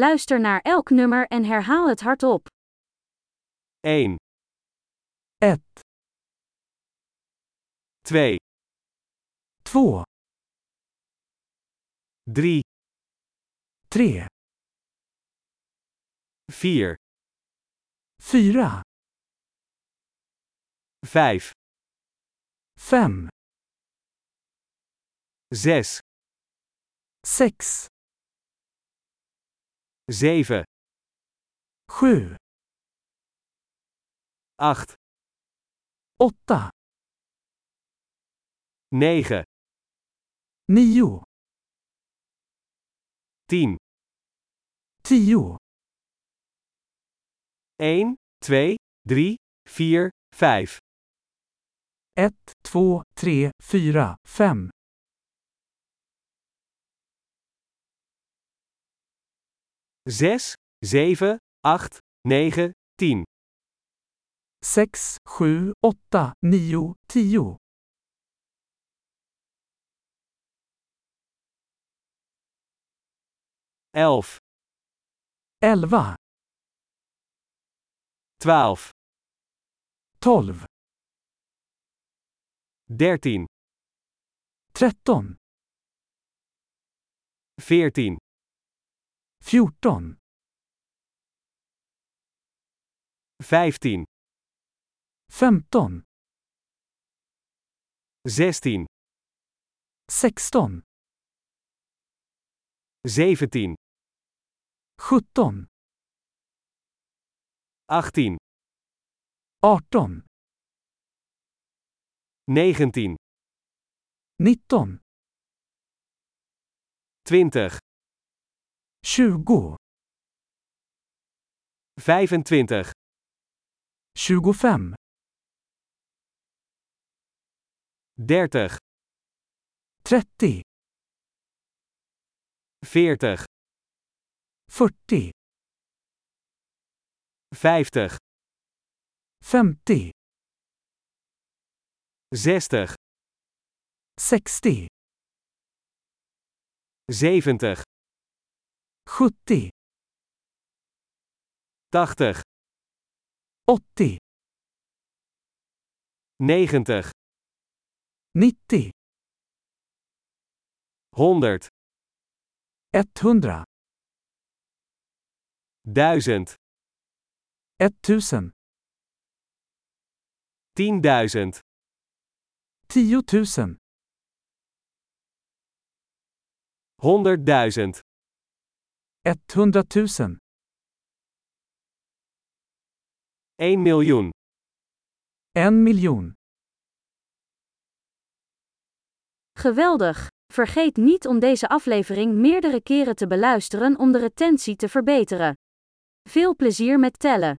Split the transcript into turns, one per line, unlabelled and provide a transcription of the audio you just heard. Luister naar elk nummer en herhaal het hardop.
1,
1,
2,
2,
3,
3,
4,
4,
5,
5,
6,
6,
7,
7,
8,
8,
9,
9,
10.
10,
1, 2, 3, 4, 5,
1, 2, 3, 4, 5,
6, 7, 8, 9, 10,
6, 7, 8, 9, 10,
11,
11,
12,
12,
13,
13,
14,
14,
15,
15,
16,
16,
17,
17,
18,
18,
19,
19,
20,
20,
25,
25,
30,
30,
40,
40,
50,
50,
60,
60,
70,
70,
80,
80,
90,
90,
100,
100,
1000,
1000,
10.000,
10 000,
100.000,
100 000,
1 miljoen,
1 miljon.
Geweldig! Vergeet niet om deze aflevering meerdere keren te beluisteren om de retentie te verbeteren. Veel plezier met tellen!